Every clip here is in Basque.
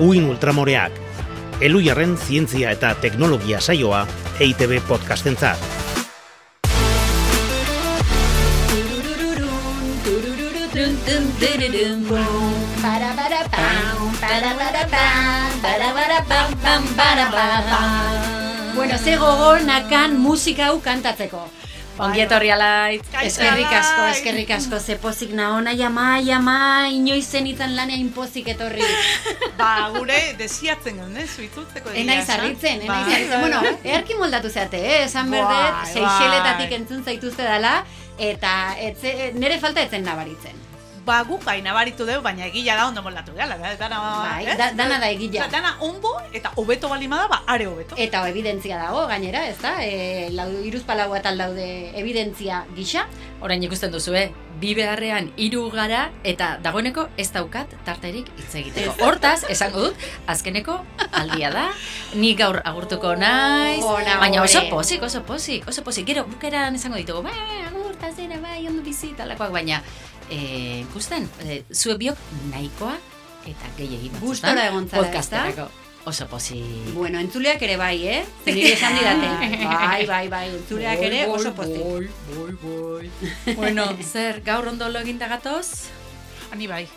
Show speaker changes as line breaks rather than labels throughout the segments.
Uin Ultramoreak, Elujarren zientzia eta teknologia saioa E EITB podcastentzat.
Bueno, ze gogon nakan musika hau kantatzeko. Ongi etorri alait,
Kaixo, bai.
eskerrik asko,
alait.
eskerrik asko, ze pozik naona, jama, jama, inoiz zenitan lanea inpozik etorri.
Ba, gure desiatzen gaude, zuitzultzeko egia
Enaiz
esan.
harritzen,
Ba.
enaiz harritzen. Bueno, earki moldatu zeate, eh? Esan
Bai,
berdet,
bai.
seixeletatik entzun zaituzte dala, eta etze, nere falta etzen nabaritzen.
Ba, guk gaina baritu dugu, baina egila da ondo moldatu gala. Da, dana,
Bai,
Ah, ez?
da- dana da egila.
Osea, dana ondo eta hobeto balima da, ba, are hobeto.
Eta o, evidentzia dago, gainera, ez da? E, lau, iruzpalaua tal daude evidentzia gisa.
Orain ikusten duzu, eh? Bi beharrean hiru gara eta dagoeneko ez daukat tarterik hitz egiteko. Hortaz, esango dut, azkeneko aldia da, ni gaur agurtuko naiz,
Ona,
baina oso
ore.
pozik, oso pozik, oso pozik. Gero bukeran esango ditugu, bai, bai, agur, ta zera, bai, ondo bizi, talakoak, baina eh, ikusten, eh, zue biok nahikoa eta gehiegi batzutan.
Gustora egon zara,
podcasterako. Oso pozik.
Bueno, entzuleak ere bai, eh? Nire esan didate. Bai, bai, bai, entzuleak
Boi,
ere
boi,
oso pozik.
boi, boi, boi. Bueno, zer, gaur ondo lo eginda gatoz?
Ani bai. eh,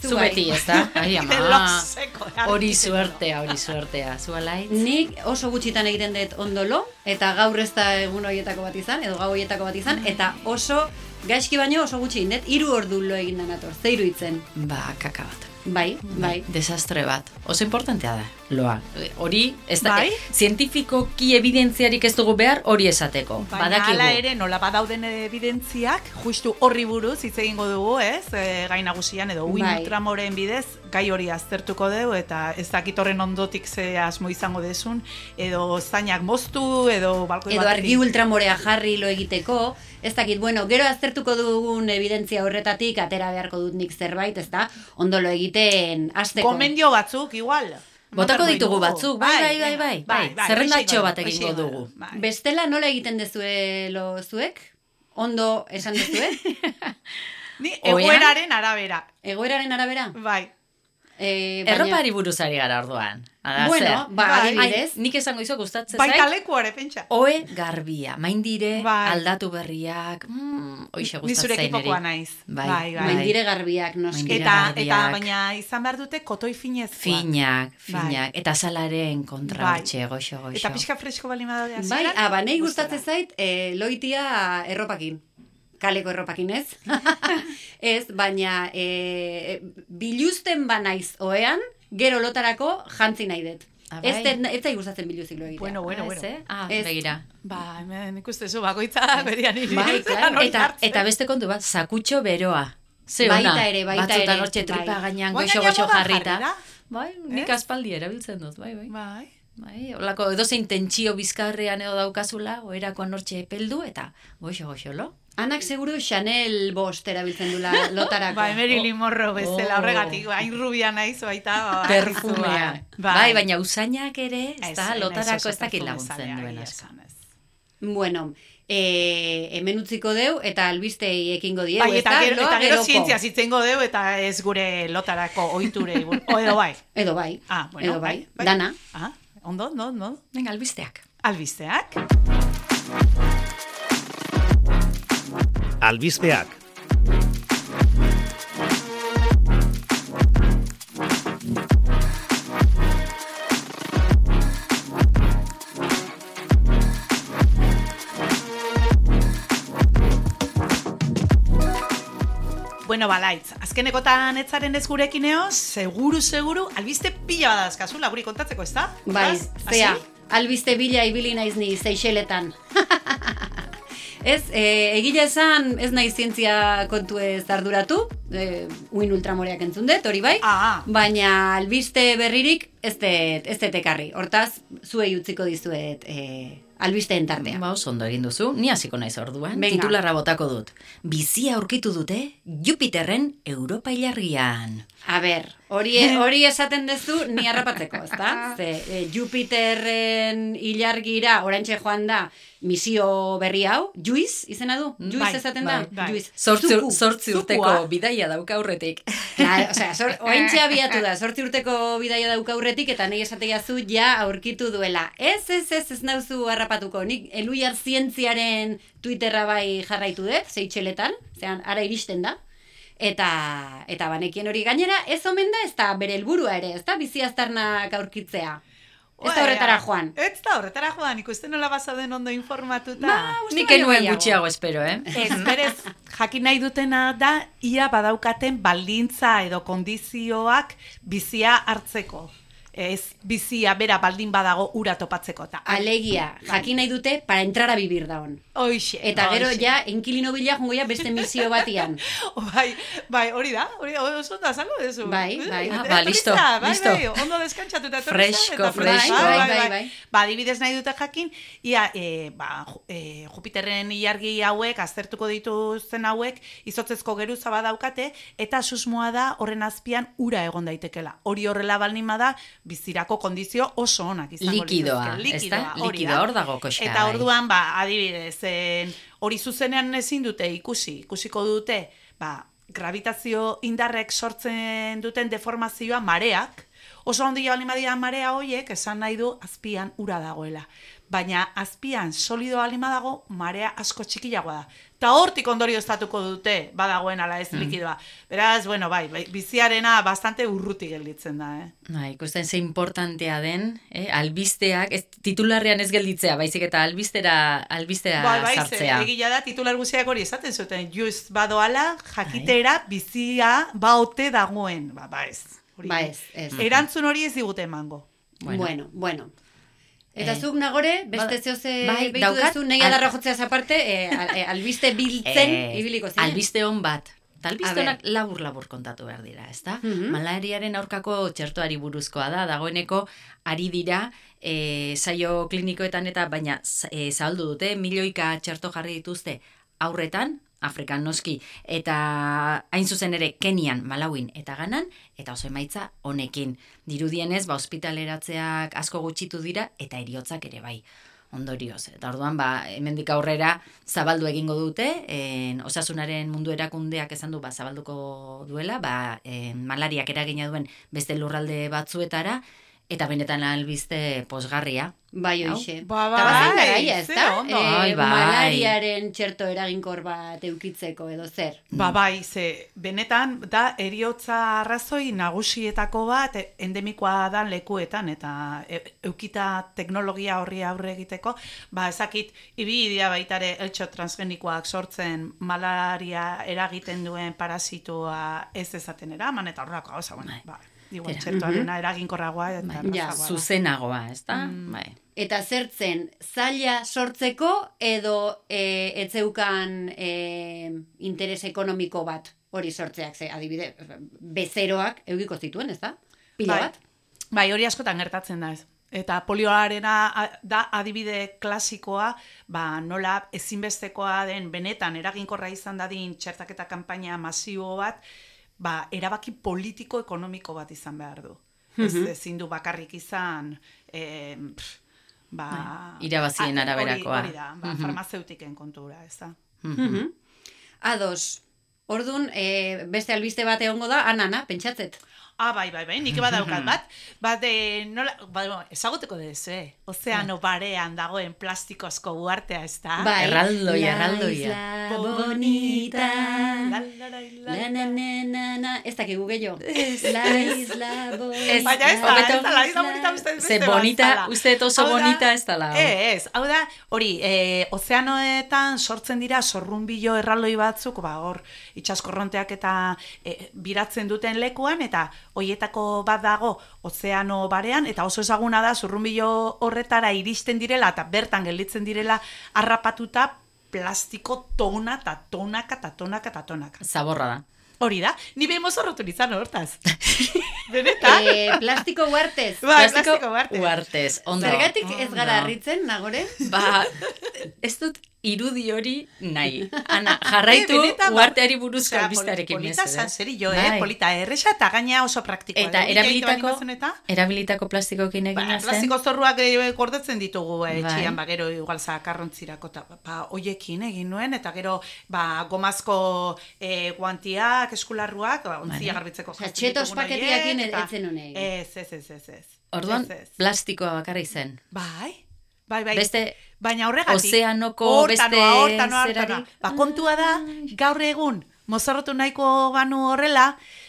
Zu
Zu
bai.
beti, ez da? Ai, ama.
ah,
Lozeko,
Hori suertea, hori suertea. Zu alaitz?
Nik oso gutxitan egiten dut ondolo, eta gaur ez da egun horietako bat izan, edo gau horietako bat izan, eta oso gaizki baino oso gutxi egin dut, hiru ordu lo egin da nator, ze iruditzen.
Ba, kaka bat.
Bai, bai.
Desastre bat. Oso importantea da, loa. Eh, Hori, ez da,
Bai?
eh, zientifikoki evidentziarik ez dugu behar hori esateko.
Baina ala
Badakigu.
ere, nola badauden evidentziak, justu horri buruz hitz egingo dugu, ez? E, gai nagusian edo uin
Bai.
ultramoren bidez, gai hori aztertuko dugu eta ez dakit horren ondotik ze asmo izango desun, edo zainak moztu, edo balkoi
Edo
batetik.
argi ultramorea jarri lo egiteko, ez dakit, bueno, gero aztertuko dugun evidentzia horretatik, atera beharko dut nik zerbait, ez da, ondolo egiten azteko.
Komendio batzuk, igual.
Botako
Eman
ditugu
behar
batzuk, bai, bai, bai, bai, bai, zerrendatxo
hoxe
bat
igual,
egingo
hoxe
dugu.
igual, bai.
Bestela nola egiten dezue lo zuek? Ondo esan dezue?
Ni
Ohean?
egoeraren arabera,
Egoeraren arabera?
bai.
E,
Erropari buruz ari gara orduan. Ara,
Bueno,
zer?
ba,
Bai.
adibidez,
Nik esango izo gustatzen
Baita
zait. Oh,
lekuare, pentsa.
Oe garbia, maindire,
Bai.
aldatu berriak, mm, oixe
Ni zure
gustatzen zaineri.
ekipokoa naiz.
Bai,
Bai, bai.
maindire garbiak, noski.
Maindire.
Eta, eta
Iragarriak.
baina izan behar dute kotoi finez.
Finak,
Bai.
finak, eta salaren kontra
Bai.
bai. hortxe, goxo, ah, ba, goxo.
Eta pixka fresko bali madadea.
Bai, abanei gustatzen zait, e, loitia erropakin. Kaleko erropakin ez? ez, baina e, biluzten banaiz oean, gero lotarako jantzi nahi dut.
Ah, bai.
Ez, dut- ez zait gustatzen biluzik lo egitea.
Bueno, bueno,
Ah,
bueno.
ez, eh? Ah,
Ez.
begira.
Ba, hemen ikustezu bakoitza berian hiri.
Bai, claro. eta, eta beste kontu bat, sakutxo beroa. Ze
Baita
ona,
ere, baita
Batzutan
ere,
hortxe tripa
bai.
gainean
Oin
goxo,
gaina
goxo
modan
jarrita.
jarri da.
Bai, nik
Ez?
aspaldi erabiltzen dut, bai, bai.
Bai.
Bai, olako edozein tentsio bizkarrean edo daukazula, oerakoan hortxe epeldu eta goxo, goxo, lo?
Anak seguru Chanel bost erabiltzen dula lotarako.
Ba, Marilyn Monroe bezala
Oh.
horregatik, hain rubia naiz baita. ba,
Perfumea.
Bai.
Bai. baina usainak ere, ez da,
Ez,
lotarako
oso
ez dakit laguntzen
perfumezalea,
duen
egia
asko.
esan, ez.
Bueno, e, hemen utziko deu eta albistei ekingo diegu,
Bai,
ez
eta
da?
gero,
Lo
eta gero
geroko.
zientzia zitzengo deu eta ez gure lotarako ohiturei. bur- O edo bai.
Edo bai,
Ah, bueno,
edo bai, dana.
Ah, ondo, ondo, ondo.
Venga, albisteak.
Albisteak.
Albisteak.
Bueno, balaitz, azkenekotan etzaren ez gurekin eoz, seguru, seguru, albiste pila bat azkazula, guri kontatzeko, ez da?
Bai,
Beraz,
zea,
hasi?
albiste bila ibili naiz ni seixeletan. ez, e, egile esan ez naiz zientzia kontu ez arduratu, e, uin ultramoreak entzun dut, hori bai,
Ah, ah.
baina albiste berririk ez dut ez dut ekarri. Hortaz, zuei utziko dizuet e, albisteen tardea.
Ba, oso ondo egin duzu, ni hasiko naiz orduan,
Venga.
titularra botako dut. Bizia aurkitu dute Jupiterren Europa ilargian.
A ber, hori, hori esaten duzu ni harrapatzeko, ezta? Ze e, Jupiterren ilargira oraintxe joan da misio berri hau, Juiz izena du? Juiz
Bai,
esaten
bai,
da?
bai.
Juiz.
Zortzi,
Zuku,
zortzi urteko
zukua.
bidaia dauka aurretik.
Claro, o sea, sor, oaintxe abiatu da, sortzi urteko bidaia dauka aurretik, eta nahi esatea zu ja aurkitu duela. Ez, ez, ez, ez nauzu harrapatuko. Nik eluiar zientziaren Twitterra bai jarraitu dut, zeitxeletan, zean, ara iristen da. Eta, eta banekien hori gainera, ez omen da, ez da bere helburua ere, ez da bizi aztarnak aurkitzea. Ez da horretara joan.
Ez da horretara joan, ikusten nola bazauden ondo informatuta.
Ba, uste
Nik
baino
enuen
gehiago.
gutxiago espero, eh?
Ez, berez, jakin nahi dutena da, ia badaukaten baldintza edo kondizioak bizia hartzeko. Ez bizia bera baldin badago ura topatzeko. Ta.
Alegia, jakin nahi dute, para entrar a vivir da hon.
Hoxe,
Eta gero,
hoxe.
ja, enkilino bila jongo ja beste misio batian.
Bai, bai, hori da, hori oso ondo azaldu duzu.
Bai, bai.
Ah, ba,
Etorri
listo,
zara, bai,
listo.
Bai, ondo deskantzatuta etorri
Fresko,
zara, eta
fresko.
Bai, bai, bai.
Ba, adibidez nahi dute jakin, ia, e, ba, Ju- e, Jupiterren ilargi hauek, aztertuko dituzten hauek, izotzezko geruza badaukate, eta susmoa da horren azpian ura egon daitekela. Hori horrela balnima da, bizirako kondizio oso onak izango
Likidoa,
lituzke.
ezta?
hori
Likidoa, hor dago koxka,
Eta
bai.
orduan, ba, adibidez, en, hori zuzenean ezin dute ikusi, ikusiko dute, ba, gravitazio indarrek sortzen duten deformazioa mareak, oso ondi balin badira marea hoiek, esan nahi du azpian ura dagoela. Baina azpian solido alima dago, marea asko txikiagoa da. Ta hortik ondorio estatuko dute, badagoen ala
Mm.
ez likidoa. Beraz, bueno, bai, bai, biziarena bastante urruti gelditzen da, eh?
Na, Ba, ikusten ze importantea den, eh? albisteak, ez, titularrean ez gelditzea, baizik eta albistera, albistera
Bai, bai, ze,
sartzea.
egia da titular guziak hori esaten zuten, just badoala, jakitera,
Bai.
bizia, baote dagoen. Ba, ba ez. Hori.
Ba ez, ez.
Erantzun hori ez digute emango.
Bueno.
Bueno, bueno. Eta
Eh,
zuk nagore, beste
bada-
zeo ze
bai,
beitu
daukat-
duzu, nahi
al-
adarra jotzeaz aparte, eh, al- eh, albiste biltzen
Eh,
ibiliko zinen.
Albiste hon bat. Eta albiste
A
honak labur-labur kontatu behar dira, ezta?
Mhm.
Malariaren aurkako txertoari buruzkoa da, dagoeneko ari dira e, saio klinikoetan eta baina z- e, zabaldu dute, milioika txerto jarri dituzte aurretan, Afrikan noski, eta hain zuzen ere Kenian, Malawin eta Ganan, eta oso emaitza honekin. Dirudienez, ba, ospitaleratzeak asko gutxitu dira, eta eriotzak ere bai ondorioz. Eta orduan, ba, hemendik aurrera zabaldu egingo dute, en, osasunaren mundu erakundeak esan du, ba, zabalduko duela, ba, en, malariak eragina duen beste lurralde batzuetara, eta benetan albiste posgarria.
Bai,
Hau.
hoxe.
Ba,
Eta bazen
bai,
garaia, ez
ze
da?
ondo.
Bai, bai.
Malariaren txerto eraginkor bat eukitzeko edo zer.
Mm.
Ba, bai, ze, benetan, da, eriotza arrazoi nagusietako bat e- endemikoa dan lekuetan, eta e- eukita teknologia horri aurre egiteko, ba, ezakit, ibidea baitare eltxo transgenikoak sortzen malaria eragiten duen parasitoa ez ezatenera, man eta horrelako gauza, bueno,
Bai.
ba, igual,
Tera. Mhm.
txertoarena eraginkorragoa eta
Bai.
Ja,
errazagoa da. Mm.
Zuzenagoa, ez da? Bai.
Eta zertzen, zaila sortzeko edo e, etzeukan e, interes ekonomiko bat hori sortzeak, ze adibide, bezeroak eukiko zituen, ez da? Pila
bai.
bat?
Bai, hori askotan gertatzen da ez. Eta polioarena a- da adibide klasikoa, ba, nola ezinbestekoa den benetan eraginkorra izan dadin txertaketa kanpaina masibo bat, ba, erabaki politiko-ekonomiko bat izan behar du. Ez
Mhm.
ezin du bakarrik izan, eh, pff, ba...
Bai, irabazien
a- hori-
araberakoa. Mhm.
Hori da, ba, farmazeutiken kontura, ez da.
Mm-hmm.
Mhm. Ados, orduan e, beste albiste bat egongo da, anana, pentsatzet.
Ah, bai, bai, bai, nik badaukat bat. Bat, eh, nola, ba, bueno, ezaguteko dezu, eh? Ozeano barean dagoen plastikozko uartea, ez da?
Bai.
erraldoia,
La
erraldoia.
isla
La,
bonita.
Ba, la, la, la.
La na na na na, ez dakigu gehiago. La isla bonita.
Ez,
Baina ez da, ez
hobeto-
da, la isla bonita uste ez
Ze
beste bat
bonita,
zala.
uste dut oso
Hau da-
bonita ez dala, hau.
Ez, hau da, hori, e, ozeanoetan sortzen dira sorrunbilo erraloi batzuk, ba, hor, itxaskorronteak eta e, biratzen duten lekuan, eta hoietako bat dago ozeano barean, eta oso ezaguna da sorrunbilo horretara iristen direla, eta bertan gelditzen direla harrapatuta plastiko tona, eta tonaka, eta tonaka, eta tonaka.
Zaborra da.
Hori da, ni behin mozorrotu nintzen hortaz. Benetan?
Eh, plastiko guartez.
Ba, plastiko uarte.
Uartez, ondo.
Zergatik ez gara
Ondo.
harritzen, nagore?
Ba, ez dut irudi hori nahi. Ana, jarraitu
Eh, benetan, ba-
uarteari buruzko
Osea,
albistarekin
Polita zan
mesedez.
zeri jo, eh?
Bai.
Polita erresa eta gaina oso praktikoa.
Eta
Nik egiten
erabilitako,
banibazen eta,
erabilitako plastikokin
Ba,
egina zen.
plastiko zorruak eh, gordetzen ditugu eh,
Bai.
etxean, ba, gero igual zakarrontzirako, eta ba, hoiekin egin nuen, eta gero ba, gomazko eh, guantiak, eskularruak, ba, ontzia
Bai.
garbitzeko.
Osea,
jartzen
txetos
ditugun
paketiakin
horiek, eta-
etzen nuen egin.
Ez, ez, ez, ez, ez.
Orduan,
Ez, ez.
plastikoa bakarra izen.
Bai, bai, bai.
Beste,
Baina horregatik.
Ozeanoko beste
hortanoa, hortanoa,
zerari.
hortanoa. Ba, kontua da, gaur egun, mozorrotu nahiko banu horrela,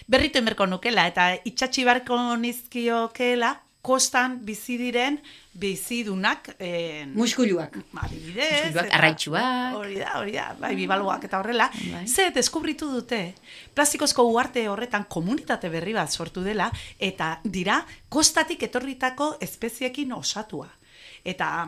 berritu emerko nukela, eta itxatxi barko nizkiokela, kostan bizi diren bizidunak eh, en,
Muskuluak.
adibidez,
Muskuituak,
eta-
arraitsuak.
Hori da, hori da, bai, bibaloak eta horrela.
Bai.
Ze, deskubritu dute, plastikozko uarte horretan komunitate berri bat sortu dela, eta dira, kostatik etorritako espeziekin osatua. Eta,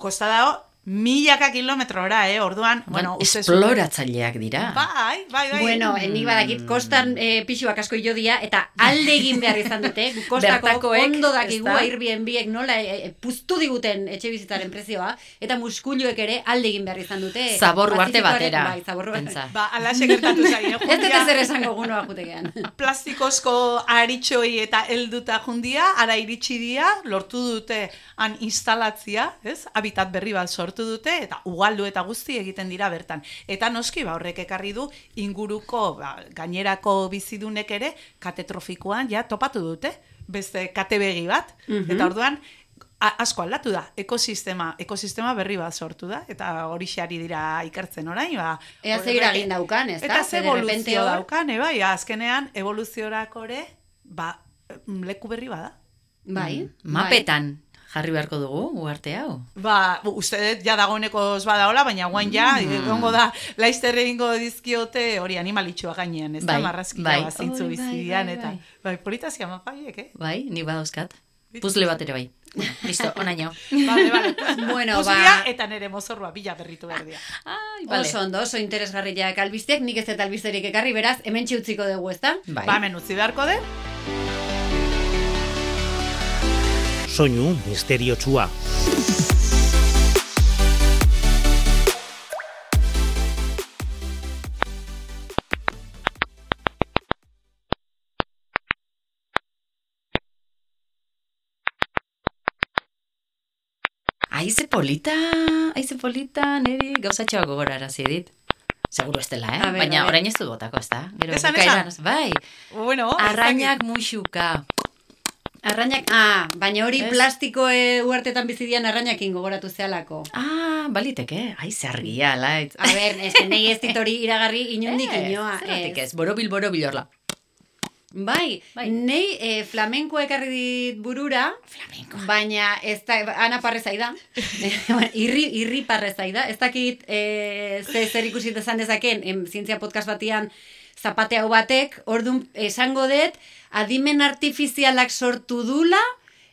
kosta dago, milaka kilometrora, eh, orduan, bueno,
bueno,
uste zuen-
esploratzaileak dira.
Bai, bai, bai.
Bueno, nik
Mm.
badakit, kostan e, pixuak asko jo dia, eta alde egin behar izan dute, Guk kostako
Bertakoek,
ondo dakigu
ezta?
Airbnb-ek nola e, e, puztu diguten etxe bizitzaren prezioa, eta muskuluek ere alde egin behar izan dute.
Zabor uarte
Pazifikoaren-
batera.
Bai, zabor
pentsa.
uarte.
Ba, alaxe gertatu zaio.
Ez dut
Julia.
ezer esango gunoa jutekean.
plastikozko aritxoi eta helduta jundia, ara iritsi dira, lortu dute han instalatzia, ez? Habitat berri bat sortu dute, eta ugaldu eta guzti egiten dira bertan. Eta noski, ba, horrek ekarri du inguruko, ba, gainerako bizidunek ere, katetrofikoan ja topatu dute, beste katebegi bat, eta orduan, a- asko aldatu da, ekosistema, ekosistema berri bat sortu da, eta hori ari dira ikertzen orain, ba,
Ea ze
horrek-
iragin daukan, ezta?
Eta ze
Ze de repente
evoluzio
hor-
daukan, e, bai, azkenean evoluziorako ere, ba, mm, leku berri bada.
Bai, bai.
Mm, Mapetan jarri beharko dugu uarte hau.
Ba, bu- uste dut ja dagoeneko ez badaola, baina guain ja,
Mm.
egongo da, laizter egingo dizkiote hori animalitxoa gainean, ez
Bai,
da marrazkia
bai.
bat zintzu
Oi, bai,
bizidian,
bai,
eta
bai.
bai, polita zian mapaiek, eh?
Bai, ni badauzkat. Puzle bat ere bai. Bueno, Listo, onaino.
Bale, bale,
Bueno,
Puzlea
ba.
pues, eta nere mozorroa bila berritu behar dira.
Ai, vale.
Oso ondo, oso interesgarriak albisteak, nik ez eta albisterik ekarri, beraz, hemen utziko dugu, ezta?
Bai.
Ba, hemen utzi beharko den,
Soinu misteriotsua.
Aize polita, aize polita, niri gauzatxoa gogorarazi dit. Seguru estela, eh?
A ber, a
Baina
ber.
orain ez dut botako, ez da? Gero
Esan,
bukaeran,
esan.
Bai,
bueno, ez
arrainak musuka.
Arrainak, ah, baina hori
Ez.
plastiko e, uartetan bizidian arrainakin gogoratu zehalako.
Ah, baliteke, aize argia, laitz.
A ber, ez que nahi ez dit hori iragarri inundik
Ez,
inoa.
Zergatik
ez.
ez, borobil, borobil horla.
Bai,
Bai.
nei e, flamenkoa ekarri dit burura,
Flamenko.
baina ez da, ana parrezai da, irri, irri parrezai da, ez dakit e, ze zer ikusi dezan dezaken, em, zientzia podcast batian zapate hau batek, orduan esango dut, adimen artifizialak sortu dula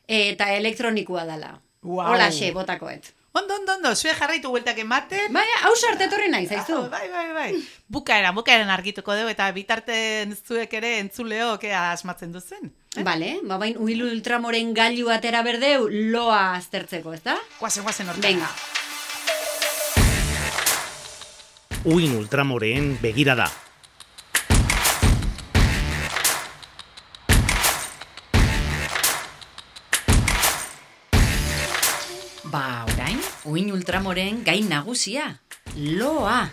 eh, eta elektronikoa dala.
Guau.
Holaxe, botakoet.
Ondo, ondo, ondo, zue jarraitu gueltak ematen,
Baina, hau sartu etorri nahi, zaizu.
Ah, Bai, bai, bai. Bukaeran, bukaeran argituko dugu eta bitarten zuek ere entzuleok ea asmatzen duzen.
Eh?
Bale, ba bain uilu ultramoren gailu atera berdeu loa aztertzeko, ez da?
Guazen, guazen hortan.
Venga.
Uin ultramoreen begirada.
Ba, orain, uin ultramoren gain nagusia, loa.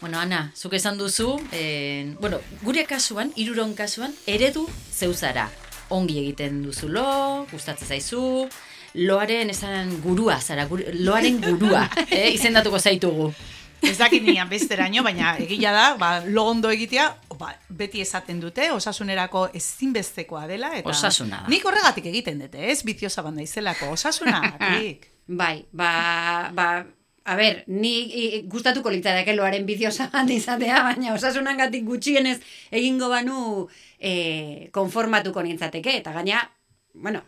Bueno, Ana, zuk esan duzu, eh, bueno, gure kasuan, iruron kasuan, eredu zeuzara. Ongi egiten duzu lo, gustatzen zaizu, loaren esan gurua zara, gur- loaren gurua, eh, izendatuko zaitugu.
Ez dakit nian besteraino, baina egia da, ba, lo ondo egitea, ba, beti esaten dute, osasunerako ezinbestekoa dela. Eta
Osasuna da.
Nik horregatik egiten dute, ez bitiosa banda izelako, osasunagatik.
Bai, ba, ba, a ber, ni i- gustatuko litzateke loaren biziosa bat izatea, baina osasunangatik gutxienez egingo banu e, konformatuko nintzateke, eta gaina, bueno,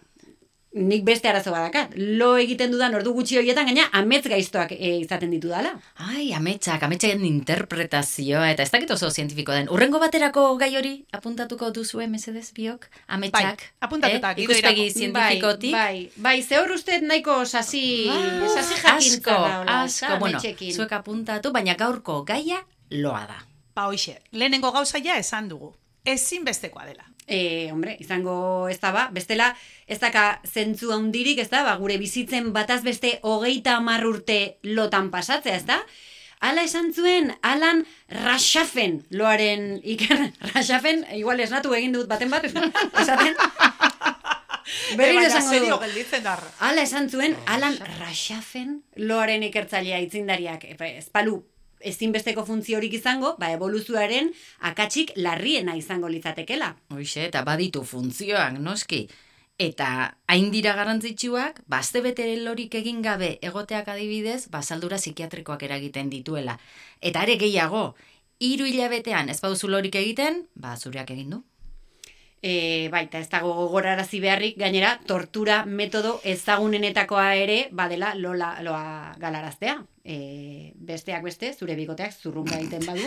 nik beste arazo badakat. Lo egiten dudan ordu gutxi horietan, gaina amets gaiztoak e, izaten ditu dala.
Ai, ametsak, ametsaken interpretazioa, eta ez dakit oso zientifiko den. Urrengo baterako gai hori apuntatuko duzue, mesedez, biok? Ametsak. eh?
Bai, apuntatuta, gidoirako.
Ikuspegi zientifikotik.
Bai, bai, ze hor uste dut nahiko sasi,
Ah,
sasi jakintza
asko,
daola,
asko,
ezta,
bueno,
ametsekin.
zuek apuntatu, baina gaurko gaia loa da.
Ba, hoxe, lehenengo gauza ja esan dugu. Ezinbestekoa dela.
E, hombre, izango ez da ba, bestela ez daka zentzu handirik, ez da, ba, gure bizitzen bataz beste hogeita hamar urte lotan pasatzea, ez da? Hala esan zuen, Alan Rashafen loaren iker, Rashafen, igual esnatu egin dut baten bat, esaten, berriro
Baina
esango
serio
du.
gelditzen da.
Hala esan zuen, Alan Rashafen loaren ikertzailea itzindariak, epa, espalu ezinbesteko funtziorik izango, ba, evoluzioaren akatsik larriena izango litzatekela.
Hoxe, eta baditu funtzioak, noski. Eta hain dira garrantzitsuak, bazte betere lorik egin gabe egoteak adibidez, basaldura psikiatrikoak eragiten dituela. Eta are gehiago, hiru hilabetean ez baduzu lorik egiten, ba, zureak egin du.
E, baita, ez dago gogorarazi beharrik, gainera, tortura metodo ezagunenetakoa ere, badela, lola, loa galaraztea. E, besteak beste, zure bikoteak zurrunga egiten badu.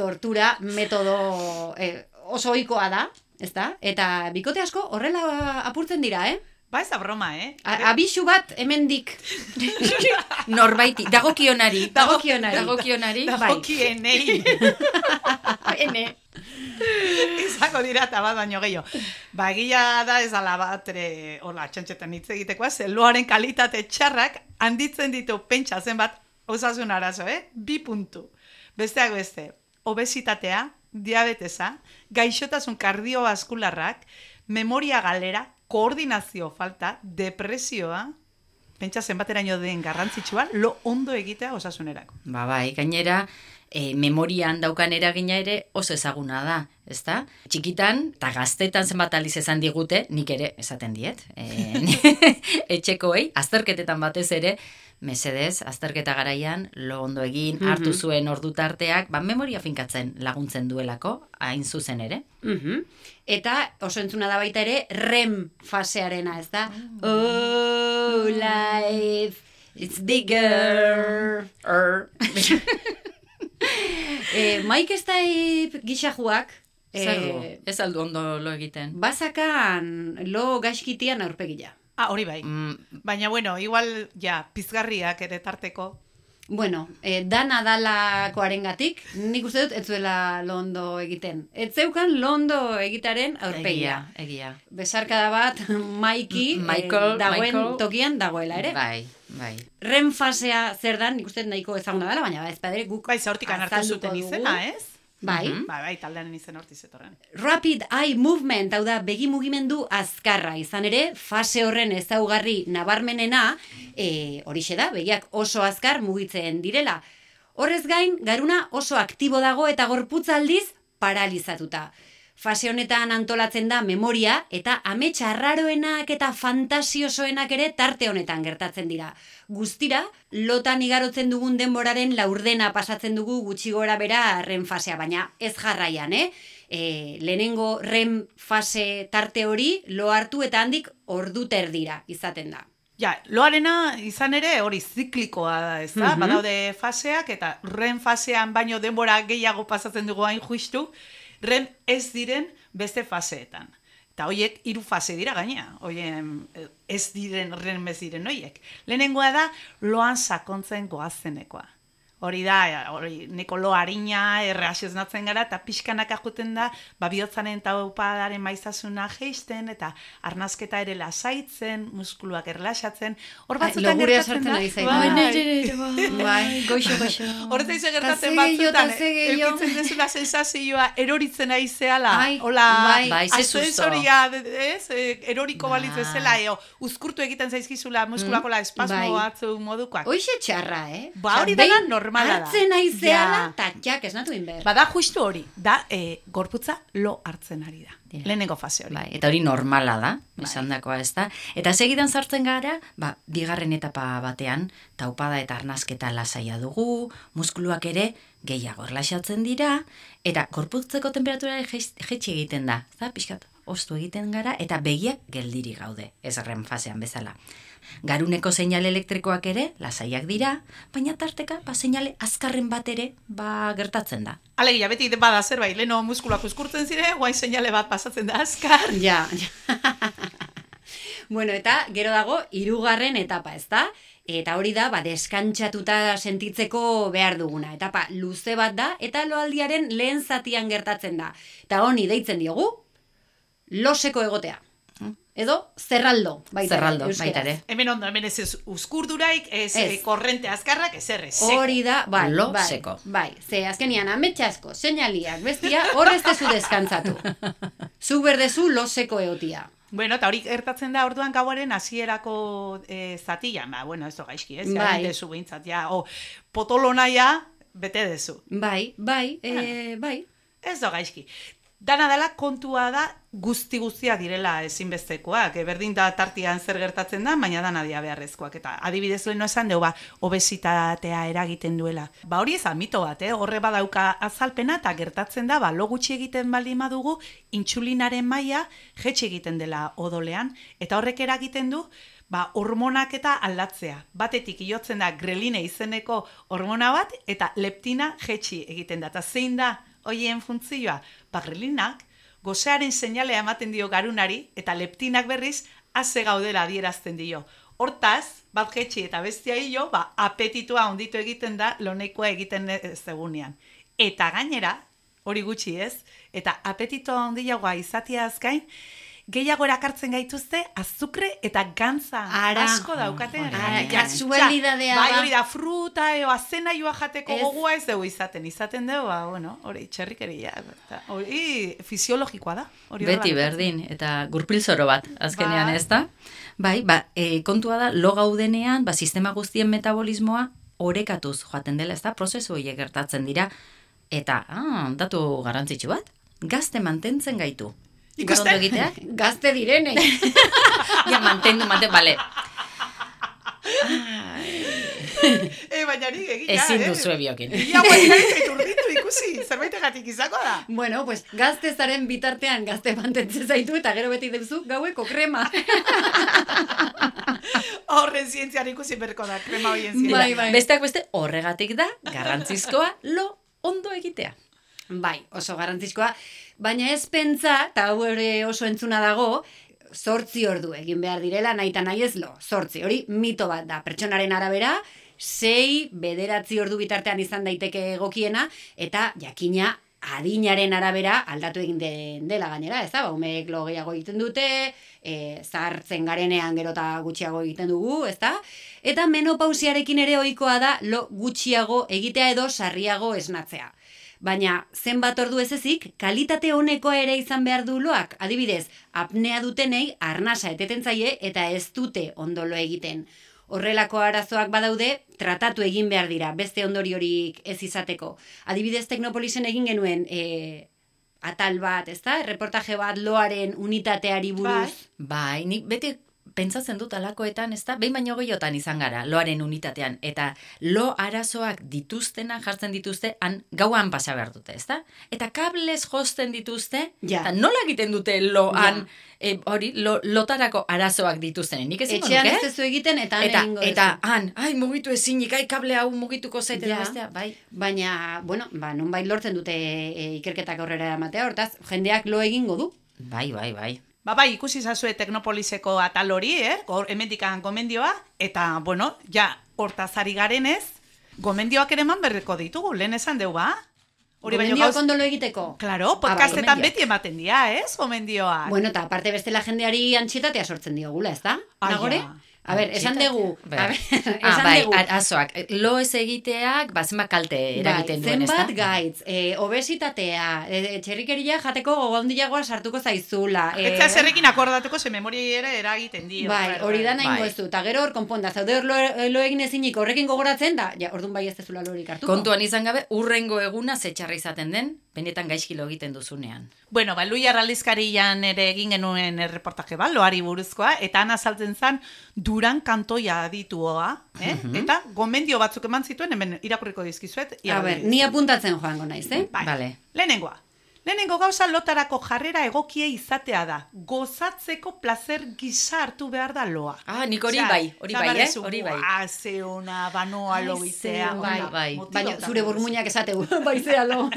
Tortura metodo e, oso ohikoa da, ezta? Eta bikote asko horrela apurtzen dira, eh?
Ba, ez da broma, eh?
A, abixu bat hemendik
Norbaiti, dagokionari.
Dagokionari.
Dagokionari, bai.
Dagokienei.
Ene.
Izango dira eta bat baino gehiago. Ba, egia da ez ala bat, ere, hola, txantxetan hitz egitekoa, zeluaren kalitate txarrak handitzen ditu pentsa zenbat osasun arazo, eh? Bi puntu. Besteak beste, obesitatea, diabetesa, gaixotasun kardiobaskularrak, memoria galera, koordinazio falta, depresioa, pentsa zenbateraino den garrantzitsua, lo ondo egitea osasunerako.
Ba, bai, gainera, e, memorian daukan eragina ere oso ezaguna da, ezta? Txikitan eta gaztetan zenbat aliz esan digute, nik ere esaten diet, e, ni- etxekoei, azterketetan batez ere, mesedez, azterketa garaian, lo ondo egin,
Mhm.
hartu zuen ordu tarteak, ba, memoria finkatzen laguntzen duelako, hain zuzen ere.
Mhm. Eta oso entzuna da baita ere REM fasearena, ez da? Oh, life, it's bigger. Er. e, Mike Stipe gixajuak,
Zer
e,
ez aldu ondo lo egiten.
bazakan lo gaizkitian aurpegia.
Ah, hori bai.
Mm,
Baina, bueno, igual, ja, pizgarriak ere tarteko,
Bueno, e, dana dalakoarengatik, nik uste dut ez zuela lo ondo egiten. Ez zeukan lo ondo egitaren aurpegia.
egia, egia.
besarkada bat Maiki
M- Michael,
eh, dagoen
Michael.
tokian dagoela ere.
Bai, bai.
Ren fasea zer dan, nik uste dut nahiko ezaguna dela, baina ez padere guk
Bai, hortik hartu
azalduko
zuten
dugu.
izena, eh? ez?
Bai.
Mhm.
Bai, bai, taldearen izen horti zetorren.
Rapid Eye Movement, hau da begi mugimendu azkarra, izan ere, fase horren ezaugarri nabarmenena, e, horixe da, begiak oso azkar mugitzen direla. Horrez gain, garuna oso aktibo dago eta gorputza aldiz paralizatuta. Fase honetan antolatzen da memoria eta ametsa arraroenak eta fantasiosoenak ere tarte honetan gertatzen dira. Guztira, lotan igarotzen dugun denboraren laurdena pasatzen dugu gutxi gora bera ren fasea, baina ez jarraian, eh? e, lehenengo REM fase tarte hori lo hartu eta handik ordu terdira izaten da.
Ja, loarena izan ere hori ziklikoa da, ez da?
Mhm.
Badaude faseak eta ren fasean baino denbora gehiago pasatzen dugu hain justu, ren ez diren beste faseetan. Eta hoiek hiru fase dira gaina, hoien eh, ez diren, ren ez diren hoiek. Lehenengoa da loan sakontzen goazenekoa. Hori da, eh, hori neko lo harina, erraz esnatzen gara, eta pixkanaka joten da, ba, bihotzaren eta upadaren maiztasuna geisten, eta arnazketa ere lasaitzen, muskuluak erlaxatzen, hor
Ai,
batzutan
logurea
gertatzen
sartzen
da.
ari zait.
bai.
Bai, nire
bai, goixo, goixo.
Hor zaizu gertatzen
Ta ze gehiago,
batzutan, eh,
ta ze gehiago.
eukitzen dezula sensazioa eroritzen ari zeala,
Ai,
hola,
bai.
Bai, ze susto.
ascensoria, ez, eh, eroriko
Bai.
balitz bezala, eo, uzkurtu egiten zaizkizula muskulako la espasmo
bai.
batzu modukoak.
Hoixe txarra, eh?
Ba, hori
Osea, behin
dela normala da.
Hartzen aizeala,
Ja.
ta txak esnatu inber.
Bada justu hori, da eh, gorputza lo hartzen ari da.
Ja.
Lehenengo fase hori.
Bai, eta hori normala da,
Bai.
esan dakoa ez da. Eta segidan sartzen gara, ba, bigarren etapa batean, taupada eta arnazketa lasaia dugu, muskuluak ere gehiago erlaxatzen dira, eta korputzeko temperatura jetxi egiten da, ez da, pixkat, ostu egiten gara eta begiak geldiri gaude, ez REM fasean bezala. Garuneko seinale elektrikoak ere lasaiak dira, baina tarteka ba seinale azkarren bat ere ba gertatzen da.
Alegia, beti bada zerbait, leno muskulak uzkurtzen zire, guain seinale bat pasatzen da azkar.
Ja, ja. bueno, eta gero dago hirugarren etapa, ez da? Eta hori da, ba, deskantsatuta sentitzeko behar duguna. Etapa luze bat da, eta loaldiaren lehen zatian gertatzen da. Eta honi deitzen diogu, loseko egotea. Edo, zerraldo. Baita, ere,
Hmm? Zerraldo,
euskeraz.
baita ere.
Hemen ondo, hemen ez ez uzkurduraik, ez,
Ez.
eh, korrente azkarrak, ez errez.
Hori da, bai,
Lo
bai,
seko.
bai, ze azkenian ametsasko, seinaliak, bestia, horrez tezu deskantzatu. Zu berdezu loseko eotia.
Bueno, eta hori gertatzen da orduan gauaren hasierako eh, zatian, ba, bueno, ez da gaizki, ez?
Bai.
Bai. Dezu behintzat, ja, o, potolona ja, bete dezu.
Bai, bai, e, bai.
Ez da gaizki. Dana dela kontua da guzti guztiak direla ezinbestekoak. E, Berdin da tartian zer gertatzen da, baina dana dia beharrezkoak. Eta adibidez leheno esan dugu, ba, obesitatea eragiten duela. Ba hori ezan mito bat, eh? horre badauka azalpena eta gertatzen da, ba, lo gutxi egiten baldin badugu, intsulinaren maila jetxe egiten dela odolean. Eta horrek eragiten du, ba, hormonak eta aldatzea. Batetik iotzen da greline izeneko hormona bat, eta leptina jetxi egiten da. Eta zein da hoien funtzioa? Ba, grelinak gozearen seinalea ematen dio garunari, eta leptinak berriz haze gaudela adierazten dio. Hortaz, bat jetxi eta bestia hilo, ba, apetitua onditu egiten da lonekoa egiten ez egunean. Eta gainera, hori gutxi ez, eta apetitoa handiagoa izateaz gain, gehiago erakartzen gaituzte azukre eta gantza
Ara.
asko daukaten
Ara,
eragina.
kasualidadea
bai,
da.
hori da fruta eo azena joa jateko
Ez.
gogoa ez dugu izaten izaten dugu, ba, bueno, hori txerrikeria eta hori fisiologikoa da hori
Beti
horrela.
berdin, eta gurpil zoro bat, azkenean
Bai.
ez da. Bai, ba, e, kontua da, lo gaudenean, ba, sistema guztien metabolismoa orekatuz joaten dela, ez da, prozesu horiek gertatzen dira. Eta, ah, datu garrantzitsu bat, gazte mantentzen gaitu.
Ikusten?
Garondo egiteak?
Gazte direnei.
ja, mantendu, mantendu, bale.
e, baina ni egina
Ezin
eh?
duzu ebiokin.
Ia guain gaitz urdindu ikusi zerbaitegatik izango da
Bueno, pues gazte zaren bitartean gazte mantentzen zaitu eta gero beti duzu gaueko krema.
horren zientzian ikusi berko da krema hoien zientzia
Bai, bai.
Besteak beste, horregatik da, garrantzizkoa, lo ondo egitea.
Bai, oso garrantzizkoa, baina ez pentsa, eta hau ere oso entzuna dago, zortzi ordu egin behar direla nahi eta nahi ez lo, zortzi, hori mito bat da, pertsonaren arabera, sei, bederatzi ordu bitartean izan daiteke egokiena, eta jakina adinaren arabera aldatu egin den dela gainera, ez da, ba, umeek lo gehiago egiten dute, e, zahartzen garenean gero eta gutxiago egiten dugu, ez da? Eta menopausiarekin ere ohikoa da lo gutxiago egitea edo sarriago esnatzea. Baina zenbat ordu ez ezik, kalitate honekoa ere izan behar du loak. Adibidez, apnea dutenei arnasa eteten zaie eta ez dute ondolo egiten. Horrelako arazoak badaude, tratatu egin behar dira, beste ondoriorik ez izateko. Adibidez, Teknopolisen egin genuen e, atal bat, ezta? Reportaje bat loaren unitateari buruz.
Bai, nik beti pentsatzen dut alakoetan, ez da, behin baino gehiotan izan gara, loaren unitatean, eta lo arazoak dituztena jartzen dituzte, han gauan pasa behar dute, ez da? Eta kables josten dituzte,
Ja.
eta nola egiten dute loan, e, hori, lo, lotarako arazoak dituztenen, nik ezingo
Etxean
nuke?
ez dezu egiten eta han
Eta,
egingo
eta
duzu.
han, ai, mugitu ezinik, ai, kable hau mugituko zaite
Ja.
ja. bestea, bai.
Baina, bueno, ba, nonbait lortzen dute e, ikerketak aurrera ematea, hortaz, jendeak lo egingo du.
Bai, bai, bai.
Ba, bai, ikusi zazue Teknopoliseko atal hori, eh? Gaur hemendikan gomendioa, eta, bueno, ja, hortaz ari garenez, gomendioak ere eman berreko ditugu, lehen esan deu, ba? Hori baino
Gomendioak
gauz...
ondolo egiteko.
Claro,
bai,
podcastetan
gomendioak.
beti bai. ematen dira, ez, gomendioa.
Bueno, eta aparte bestela jendeari antxietatea sortzen diogula, ez da?
Ah,
Nagore?
ja.
A ber, esan dugu.
Bai.
A ber, esan
ah, bai,
dugu.
arazoak, lo ez egiteak, ba, zenbat kalte eragiten duen, ez da?
zenbat gaitz, eh, obesitatea, eh, txerrikeria jateko gogo handiagoa sartuko zaizula. eh,
Eta zerrekin akordatuko ze memori ere eragiten dio.
Bai,
claro,
hori da
claro.
nahi
Bai.
ez du. Eta gero hor konponda, zaude hor lo, eh, lo egin ezinik horrekin gogoratzen da, ja, orduan bai ez dezula lorik hartuko.
Kontuan izan gabe, urrengo eguna zetxarra izaten den, benetan gaizkilo egiten duzunean.
Bueno, ba, Luia Ralizkarian ere egin genuen reportaje bat, loari buruzkoa, eta han azaltzen zen duran kantoia dituoa, eh?
Mhm.
eta gomendio batzuk eman zituen, hemen irakurriko dizkizuet.
A
irakurri
ber, ni apuntatzen joango naiz, eh?
Bai.
Vale.
Lehenengoa. Lehenengo gauza lotarako jarrera egokia izatea da. Gozatzeko placer gisa hartu behar da loa.
Ah, nik hori
Osea,
bai, hori
esan
bai,
behar
eh?
duzu,
Hori bai.
"Buah, ze ona, banoa
Ai,
lo egitea,
ze
ona,
bai, bai.
motilo
Baina
eta
zure
duzu."
burmuinak esateu, baizea lo.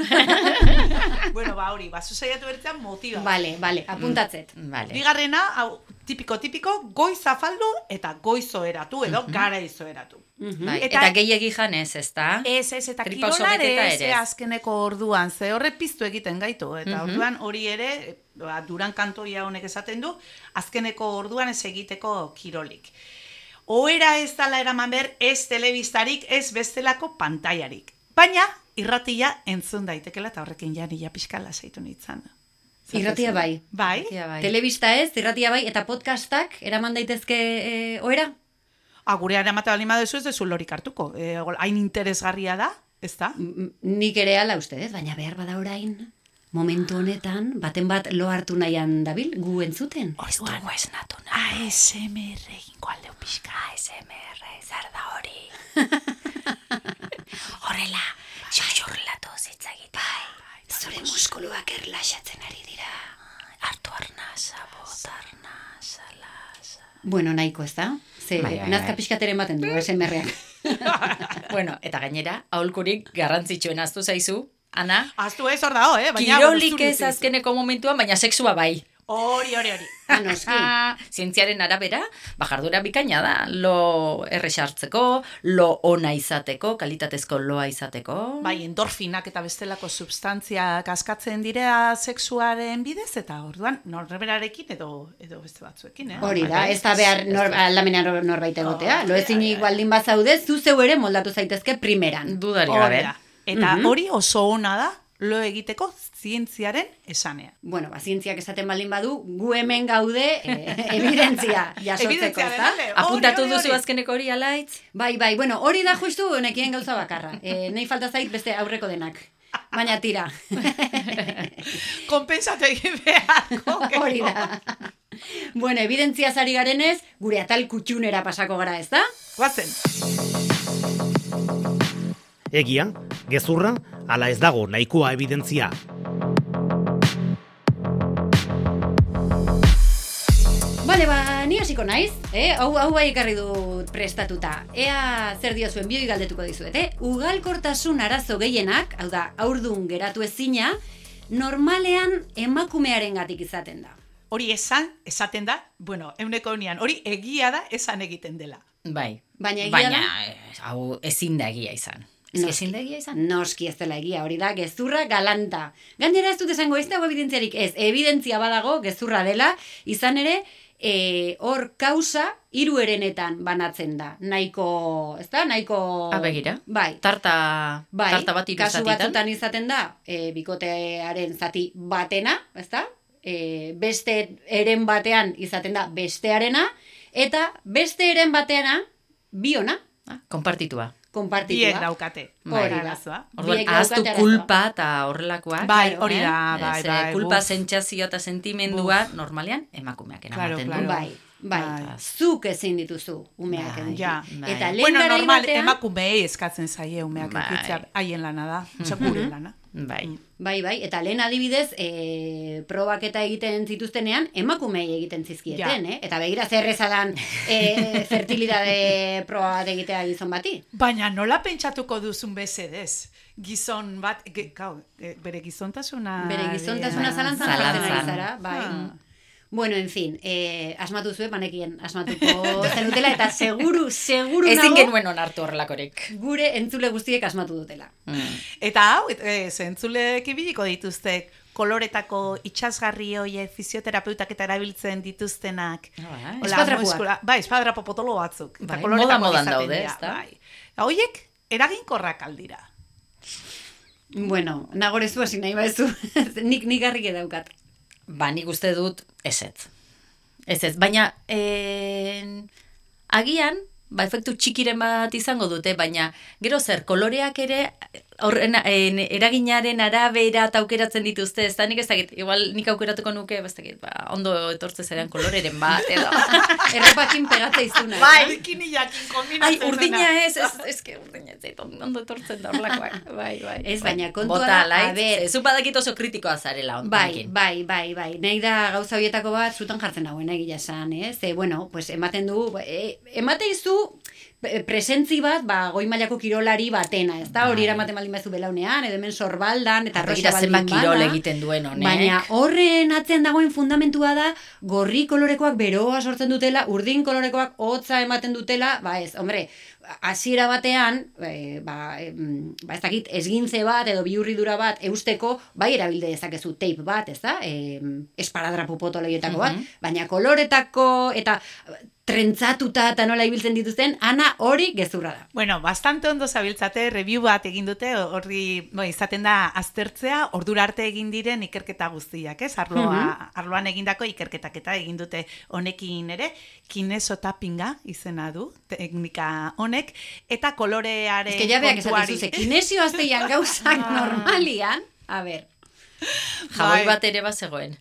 bueno, ba hori, ba, zuzaiatu bertzean motiba.
Bale,
Mm.
bale, apuntatzet.
Vale.
Bigarrena, hau, tipiko, tipiko, goiz afaldu eta goiz oheratu edo gara izoeratu.
Bai,
Hmm,
Eta-
eta, gehiegi janez, ez da?
Eh,
Ez, ez, eta
Tripa oso
kirolare
beteta
ez,
ere ez.
azkeneko orduan, ze horre piztu egiten gaitu, eta
Mhm.
orduan hori ere, e, ba, duran kantoia honek esaten du, azkeneko orduan ez egiteko kirolik. Oera ez dala eraman ber, ez telebistarik, ez bestelako pantailarik. Baina, irratia entzun daitekela, eta horrekin ja nila pixkala zaitu nintzen.
Irratia bai.
Bai?
Tia, bai.
Telebista ez, irratia bai, eta podcastak eraman daitezke e, oera?
Ah, gure aramata bali madezu ez dezu lorik hartuko. E, hol, hain interesgarria da, ez da?
M- Nik ere ala uste dut, baina behar bada orain. Momentu honetan, baten bat lo hartu nahian dabil, gu entzuten.
Ez dugu ez natuna. ASMR egingo aldeu pixka. ASMR, zer da hori?
Horrela, xaxurlatu zitza Bai, zure muskuluak erlaxatzen ari dira. Artu arnasa, bot arnasa, lasa. Bueno, nahiko ez da? Ze,
Bai, bai,
nazka
bai.
pixkateren ematen du, SMR-ak.
bueno, eta gainera, aholkurik garrantzitsuena aztu zaizu, Ana?
Aztu ez hor dago, eh? Baina,
Kirolik
bueno,
ez
zuri zaizu.
azkeneko momentuan, baina sexua bai.
Hori, hori, hori.
Ah, noski.
Ah, Zientziaren arabera, bajardura bikaina da, lo erresartzeko, lo ona izateko, kalitatezko loa izateko.
Bai, endorfinak eta bestelako substantziak askatzen dira sexuaren bidez, eta orduan norberarekin edo edo beste batzuekin, eh?
Hori da,
Bai, Oh,
ez da behar nor, aldamena nor- norbait egotea. Lo ezinik baldin bazaude, zu zeu ere moldatu zaitezke primeran.
Dudari
Hori
gabe.
da. Eta hori oso ona da, lo egiteko zientziaren esanean.
Bueno, ba, zientziak esaten baldin badu, gu hemen gaude eh, evidentzia jasotzeko,
Evidentziaren
ezta?
alde.
Apuntatu
Hori, hori,
duzu
hori.
azkeneko hori alaitz?
Bai, bai, bueno, hori da justu nekien gauza bakarra. E, nei falta zait beste aurreko denak. Baina tira,
Konpensatu egin beharko.
hori da. bueno, evidentzia zari garenez, gure atal kutxunera pasako gara, ez da?
Guazen.
Egia, gezurra, ala ez dago nahikoa evidentzia.
Bale, ba, ni hasiko naiz, eh? Hau, hau bai ekarri dut prestatuta. Ea zer diozuen bioi galdetuko dizuet, eh? Ugalkortasun arazo gehienak, hau da, aurdun geratu ezina, normalean emakumearengatik izaten da.
Hori esan, esaten da, bueno, euneko unian, hori egia da esan egiten dela.
Bai.
Baina egia
Baina,
da?
eh, hau ezin da egia izan. Ez
Noski.
ezin da egia izan?
Noski ez dela egia, hori da, gezurra galanta. Gainera ez dut esango ez dago evidentziarik ez, evidentzia badago gezurra dela, izan ere, e, hor kausa hiru herenetan banatzen da. Nahiko, ez da, nahiko...
Ah, begira.
Bai.
Tarta,
Bai,
tarta bat hiru
kasu
zatitan.
batzutan izaten da, e, bikotearen zati batena, ez da? E, beste eren batean izaten da bestearena, eta beste eren batena, biona,
Ah, konpartitua.
konpartitua.
Biek daukate.
Bai.
Hori da.
Orduan,
Biek
ahaztu
daukate arazoa.
kulpa eta horrelakoak.
Bai,
claro,
hori da, bai,
Ze
bai,
Kulpa
buf.
sentsazio eta sentimendua normalean emakumeak
Claro,
eramaten
claro.
du.
Bai, bai.
Bai.
Zuk ezin dituzu umeak
Bai,
eduki.
ja.
Eta
Bai.
lehen
Bueno,
garai
normal,
batean-
emakumeei eskatzen zaie umeak
Bai.
edukitzea haien lana da,
Mhm.
osea, gure lana.
Bai.
Bai, bai, eta lehen adibidez, e, probak eta egiten zituztenean, emakumei egiten zizkieten, eh? Eta begira zer ezadan e, fertilidade proba bat egitea gizon bati.
Baina nola pentsatuko duzun bezedez? Gizon bat, ge, gau, e, bere gizontasuna...
Bere gizontasuna
Bai.
zalantzan
zalantzan.
jartzen ari zara, bai.
Ah.
Bueno, en fin, eh, asmatu zuen, banekien asmatuko zenutela, eta seguru, seguru
Ezin
nago,
genuen onartu horrelakorek.
gure entzule guztiek asmatu dutela.
Mm.
Eta hau, et- e, zentzulek ibiliko dituzte koloretako itxasgarri hoiek fisioterapeutak eta erabiltzen dituztenak.
Ah, bai.
Hola,
Espadrapuak.
muskula- Bai, espadrapo potolo batzuk.
Bai,
koloretakoak
moda-modan
izaten
daude,
dira,
ezta?
Bai. Eta hoiek eraginkorrak aldira.
Bueno, nagorezu hasi nahi baezu, nik nik garrik daukat.
Ba, nik uste dut ezetz. Ezetz, baina eh, en, agian, ba, efektu txikiren bat izango dute, baina gero zer, koloreak ere horren en, eraginaren arabera eta aukeratzen dituzte, ez da nik ez dakit, igual nik aukeratuko nuke, ez dakit, ba, ondo etortze zaidan koloreren bat, edo.
Erropakin pegatza izuna.
Bai, bikiniakin
Ai,
kombinatzen
urdina
eh?
ez, ez, ez, que urdina ez, zait, ondo etortzen da horlakoak, bai, bai.
Ez,
bai.
baina kontua
Bota,
da,
alaitz,
a ber.
ez, zu badakit oso kritikoa zarela on-
Bai,
honekin.
bai, bai, bai. Nahi da gauza horietako bat zutan jartzen dagoen egia esan, eh? Ze, bueno, pues ematen du, ba, e, emate izu e, presentzi bat, ba, goi mailako kirolari batena, ez da? Hori
Bai.
eramaten baldin bazu belaunean, edo hemen sorbaldan, eta
Begira
arrosa
zenbat
baldin
kirol
bada.
egiten duen honek.
Baina horren atzen dagoen fundamentua da gorri kolorekoak beroa sortzen dutela, urdin kolorekoak hotza ematen dutela, ba ez, hombre, hasiera batean, e, ba, em, ba ez dakit, esgintze bat edo biurridura bat eusteko, bai erabilde dezakezu tape bat, ez da? E, esparadrapo potoloietako bat,
Mhm.
baina koloretako eta trentzatuta eta nola ibiltzen dituzten, ana hori gezurra da.
Bueno, bastante ondo zabiltzate, review bat egin dute, horri, bo, izaten da aztertzea, ordura arte egin diren ikerketa guztiak, ez? Arloa,
Mhm.
Arloan egindako ikerketak eta egin dute honekin ere, kinesotapinga izena du, teknika honek, eta kolorearen
Ez que ja beak esaten
kontuari.
zuze, kinesio azteian gauzak normalian, a ber,
Jaboi
Bai.
bat ere bat zegoen.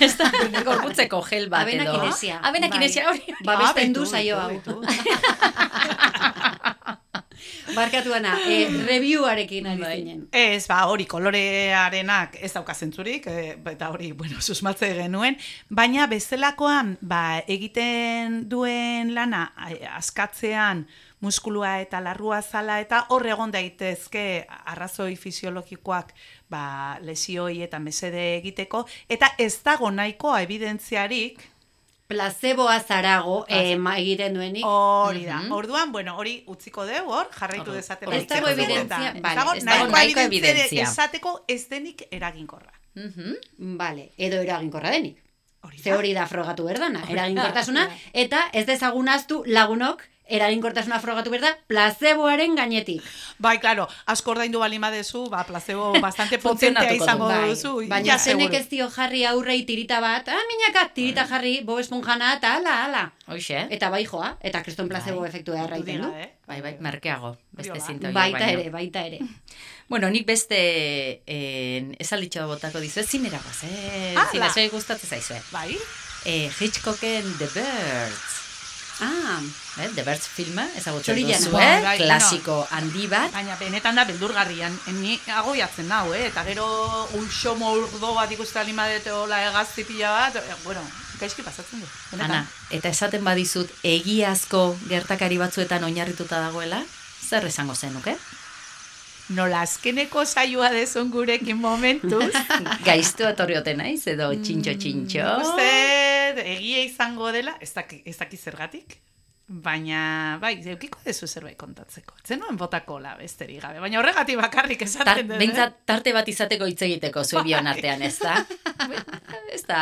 Ez da, gorputzeko gel bat
Abena
edo.
kinesia.
Abena
Bai.
Ba, kinesia hori.
babesten
Ah,
du
betu,
saio hau.
betu, betu.
Barkatu ana, e, reviewarekin ari
Bai.
zinen.
Ez, ba, hori kolorearenak ez daukazentzurik, e, eta hori, bueno, susmatze genuen, baina bezalakoan, ba, egiten duen lana, ai, askatzean, muskulua eta larrua zala, eta hor egon daitezke arrazoi fisiologikoak, ba, lesioi eta mesede egiteko, eta ez dago nahikoa evidentziarik,
Placeboa zarago
Plaze-
eh, ma egiten duenik.
hori da.
Mhm.
Orduan, bueno, hori utziko dugu, hor, jarraitu
Hor-
dezaten.
hor
beste
utziko dugu.
batzuetan.
Ez dago
ez
nahikoa
dago nahiko
evidentzia.
evidentzia. Esateko ez denik eraginkorra.
Mhm.
Vale, edo eraginkorra denik.
Hori
Ze hori da frogatu berdana, eraginkortasuna, eta ez dezagunaztu lagunok eraginkortasuna frogatu berda placeboaren gainetik.
Bai, claro, asko ordaindu bali madezu, ba, placebo bastante potentea
Funtzionatuko du,
izango
Bai,
duzu.
baina
ja,
zenek
seguru.
ez dio jarri aurrei tirita bat, ah, minaka, tirita jarri, bo esponjana, eta ala, ala.
Hoxe, eh?
Eta bai joa, eta kriston placebo
Bai.
efektua
Kontu
erraiten
dira,
du.
eh?
Bai, bai, merkeago, beste
Hori da.
zinta horiek
Baita
baino.
ere, baita ere.
Bueno, nik beste en, esalitxo botako dizu, zinera guaz, eh?
Ala!
Zina, zoi gustatzen zaizue.
Bai,
Eh, Hitchcocken The Birds.
Ah,
Eh, The Birds filma, ezagutzen
Zorillana.
duzu,
Bai,
eh?
bai,
Klasiko handi bat.
baina benetan da beldurgarrian, eh, ni agoiatzen nau, eh? Eta gero ulxo mordo bat ikusten bali madete hola hegazti pila bat, eh, bueno, gaizki pasatzen du. benetan.
Ana, eta esaten badizut egiazko gertakari batzuetan oinarrituta dagoela, zer esango zenuke?
Nola azkeneko saioa dezun gurekin momentuz.
Gaiztu etorri ote naiz edo txintxo txintxo.
Mm,
Uste, egia izango dela, ez daki, ez daki zergatik, baina, bai, eukiko dezu zerbait kontatzeko. Zenuen botako la besterik gabe, baina horregatik bakarrik
Tar,
esaten dut.
behintzat tarte bat izateko hitz egiteko zu bion artean, ez da? ez da...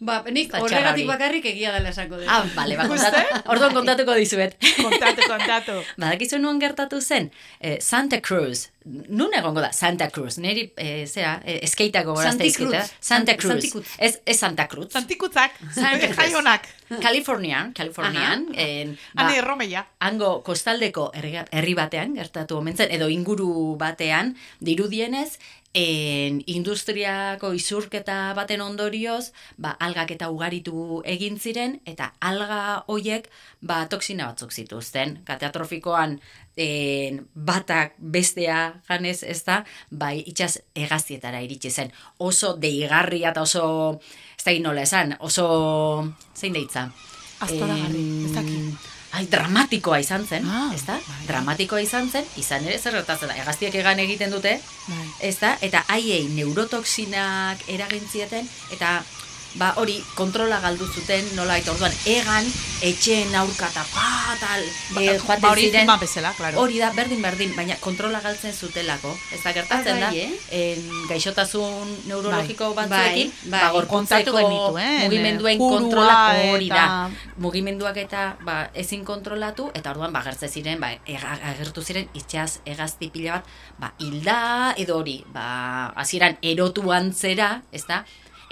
Bai. ba, nik
Eta txarra
horregatik
hori.
bakarrik Bai. egia dela esako dut.
Ah, bale, ba, kontatu, orduan kontatuko dizuet.
eh? Kontatu, kontatu.
Badakizu nun gertatu zen, eh, Santa Cruz, nun egongo da, Santa Cruz, niri, eh, zera, eh, eskeitako gorazte
Santi
izkita.
Cruz.
Santa
Sant-
Cruz,
Santi Cruz.
ez, ez Santa Cruz.
Santikutzak,
Santikutzak.
eh, jaionak,
Californian, Californian, en, ba,
hane erromeia.
hango kostaldeko herri- herri batean gertatu omen zen edo inguru batean dirudienez en industriako izurketa baten ondorioz, ba, algak eta ugaritu egin ziren, eta alga hoiek ba, toksina batzuk zituzten. Kateatrofikoan en, batak bestea janez ez da, bai itxas hegazietara iritsi zen. Oso deigarria eta oso, ez da nola esan, oso, zein deitza?
Aztoragarri,
Em,
ez daki.
Ai, dramatikoa izan zen,
Ah,
ez da?
bai.
Dramatikoa izan zen, izan ere zer gertatzen da. Hegaztiak egan egiten dute,
Bai.
ez da? Eta haiei neurotoksinak eragintzieten, eta ba hori kontrola galdu zuten nolait orduan egan etxeen aurka eta patal e,
ba,
joaten
hori
ziren
filman bezala, claro.
hori da berdin berdin baina kontrola galtzen zutelako ez da gertatzen
Ah,
da
bai, eh?
en, gaixotasun neurologiko
Bai,
batzuekin
bai.
ba hor
Kontatu
kontzeko
genituen, eh,
mugimenduen
kurua
kontrola hori da
eta-
mugimenduak eta ba, ezin kontrolatu eta orduan ba gertze ziren ba ega- agertu ziren itxas hegazti pila bat ba hilda edo hori ba hasieran erotu antzera, ezta?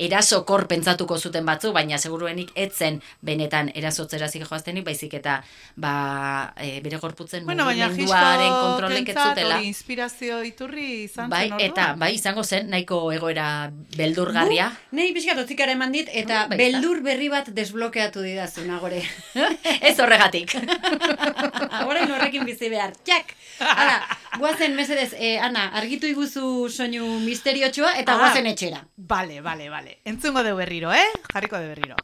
eraso kor pentsatuko zuten batzu, baina seguruenik etzen benetan erasotzerazik joaztenik, baizik eta ba, e, bere gorputzen
Bueno, baina jisko
mugimenduaren kontrolek ez
kentzat,
zutela.
hori inspirazio iturri izan
Bai,
zen
eta bai, izango zen, nahiko egoera beldurgarria.
Nei pixkat otzikara eman dit, eta
Mm, baita.
beldur berri bat desblokeatu didazuna gore.
ez horregatik.
Horain horrekin bizi behar, txak! Hala, guazen mesedez, eh, Ana, argitu iguzu soinu misteriotxoa eta
Ah.
guazen etxera.
Bale, bale, bale. Entzungo de berriro, eh? Jarriko de berriro.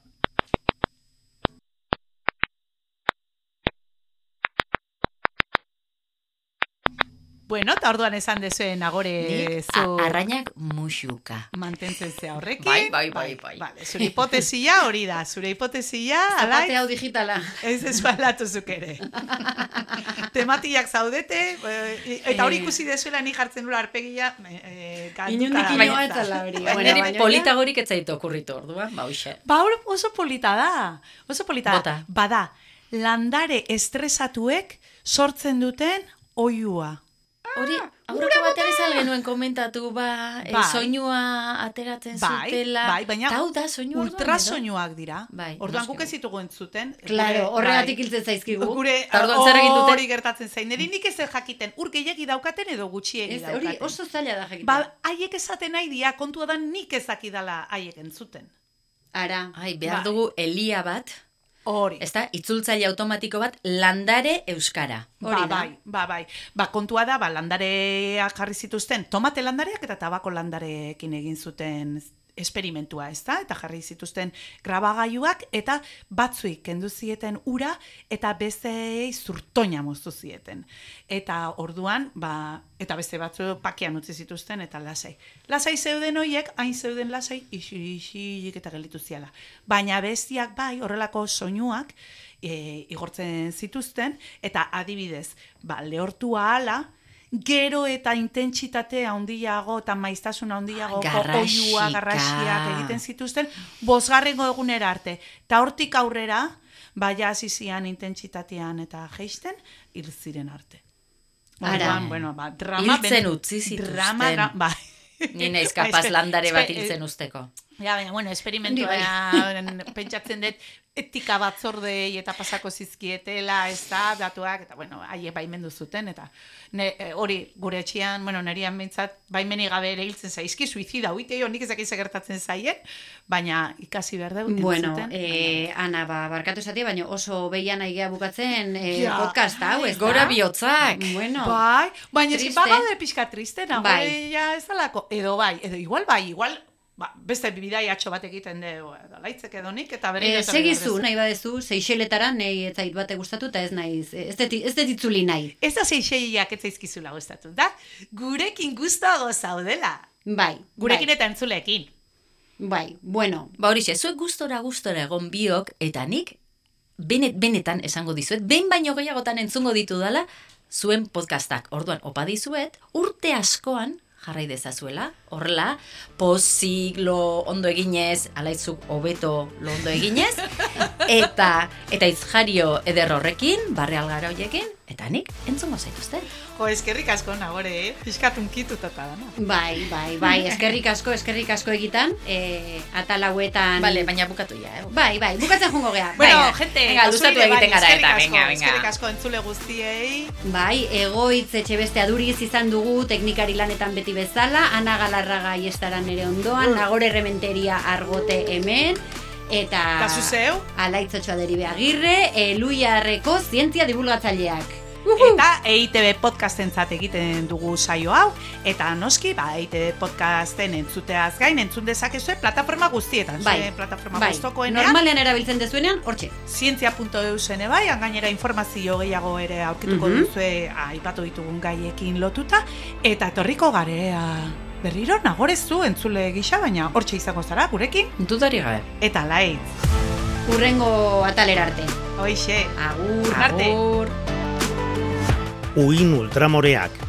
Bueno, eta orduan esan dezuen agore
Nik,
Eh, zu
a- arrainak musuka.
mantentzen zea horrekin.
Bai, bai, bai, bai.
Vale, zure hipotesia hori da, zure hipotesia,
Zapate
alai,
hau digitala.
ez ez balatzuk ere. Tematiak zaudete, eh, eta hori
Eh.
ikusi dezuela ni jartzen nula arpegia, eh, ganduta
Inundik
gabiltza.
inoa eta labri.
Baina
Neri
baina-
politagorik ez zaitu okurritu orduan, ba, hoxe.
Ba, hor oso polita da. Oso polita da.
Bota.
Bada, landare estresatuek sortzen duten oiua. Ah,
Hori, aurreko batean izan genuen komentatu, ba, eh,
Bai.
soinua ateratzen
Bai,
zutela.
bai, baina
Tau da, soinua orduan, edo?
ultrasoinuak dira.
Bai,
Orduan
noski
guk
bai.
ez ditugu entzuten.
Claro,
Gure-
horregatik
bai.
hiltzen zaizkigu.
Gure
Eta orduan zer egin dute?
hori gertatzen zain. Neri nik ez dut jakiten, ur gehiagi daukaten edo gutxiegi
Ez,
daukaten.
hori oso zaila da jakitea.
Ba, haiek esaten nahi dia, kontua da nik ezakidala haiek entzuten.
Ara.
Ai, behar
Bai.
dugu elia bat,
Hori.
ez da, itzultzaile automatiko bat, landare euskara.
Ba,
Hori da.
bai, ba, bai. Ba, kontua da, ba, landareak jarri zituzten, tomate landareak eta tabako landareekin egin zuten esperimentua, ez da? Eta jarri zituzten grabagailuak eta batzuik kendu zieten ura eta besteei zurtoina moztu zieten. Eta orduan, ba, eta beste batzu pakian utzi zituzten eta lasai. Lasai zeuden hoiek, hain zeuden lasai, isi, isi, eta gelditu ziala. Baina bestiak bai, horrelako soinuak, e, igortzen zituzten, eta adibidez, ba, lehortua ala, gero eta intentsitate handiago eta maiztasun handiago
Ah, garrasika.
oihua, garrasiak egiten zituzten, bosgarrengo egunera arte. Ta hortik aurrera, baia zizian intentsitatean eta geisten, hil ziren arte.
Ara.
Orduan, bueno, ba, drama,
Hiltzen
ben-
utzi zituzten.
Drama, dra- bai.
Ni naiz
Ba, eh,
kapaz
espe-
landare bat
espe-
hiltzen usteko.
Ja, baina, bueno, esperimentua pentsatzen dut etika batzordei eta pasako zizkietela, ez da, datuak, eta, bueno, haiek baimendu zuten, eta ne, eh, hori gure etxean, bueno, nerian bintzat, baimeni gabe ere hiltzen zaizki, suizida, uite, hor nik ezak gertatzen zaien, baina ikasi behar dut,
Bueno,
entzuten,
eh, Ana, ba, barkatu esatia, baina oso behian aigea bukatzen eh,
Ja.
podcast hau, ez Eh, da?
Gora bihotzak!
Bueno,
Bai, baina eski
Triste.
bagaude pixka triste, nago eh,
Bai.
ja ez dalako, edo bai, edo igual bai, igual, ba, beste bidaiatxo bat egiten dugu, edo laitzek edo nik, eta bere...
eh, segizu, nahi badezu, seixeletara, nahi ez zait bate gustatu, eta ez naiz, eh, ez dut ez dut itzuli nahi.
Ez da seixeiak ez zaizkizula gustatu, da? Gurekin gustago zaudela.
Bai,
Gurekin
bai,
eta entzulekin.
bai, bueno,
Ba horixe, zuek gustora gustora egon biok, eta nik benet, benetan esango dizuet, behin baino gehiagotan entzungo ditu dala, zuen podcastak. Orduan, opa dizuet, urte askoan jarrai dezazuela, horrela, pozik, lo ondo eginez, alaitzuk hobeto lo ondo eginez, eta eta izjario eder horrekin, barre algara hoiekin, eta nik entzungo zaituzte.
Jo, eskerrik asko nagore, eh? Piskat unkituta eta dana.
bai, bai, bai, eskerrik asko, eskerrik asko egitan, eh, atal hauetan...
Bale, baina bukatu ja, eh?
Bai, bai, bukatzen jungo gea.
Bueno,
Baina,
gente,
venga,
ba,
luzatu
zuri ere bai,
egiten gara
eskerrik
eta,
asko,
venga, venga.
Eskerrik asko entzule guztiei.
Bai, egoitz etxebeste aduriz izan dugu teknikari lanetan beti bezala, Ana Galarraga iestaran ere ondoan, Nagore Rementeria argote hemen, eta...
Ah.
Eta zu zeu?
Alaitzotxoa deribe agirre, eluiarreko zientzia divulgatzaileak.
Eta E EITB podcasten zat egiten dugu saio hau, eta noski, ba, EITB podcasten entzuteaz gain, entzun dezakezue plataforma guztietan,
Bai,
zuen plataforma
Bai,
gustokoenean,
normalean erabiltzen dezuenean, hortxe.
zientzia.eusen bai, gainera informazio gehiago ere aurkituko
Mhm.
duzue aipatu ditugun gaiekin lotuta, eta etorriko garea berriro nagorezu entzule gisa, baina hortxe izango zara gurekin,
Dudari gabe.
eta laitz.
Urrengo atalera arte.
Hoixe,
Agur.
Arte.
Agur.
Uin ultramoreak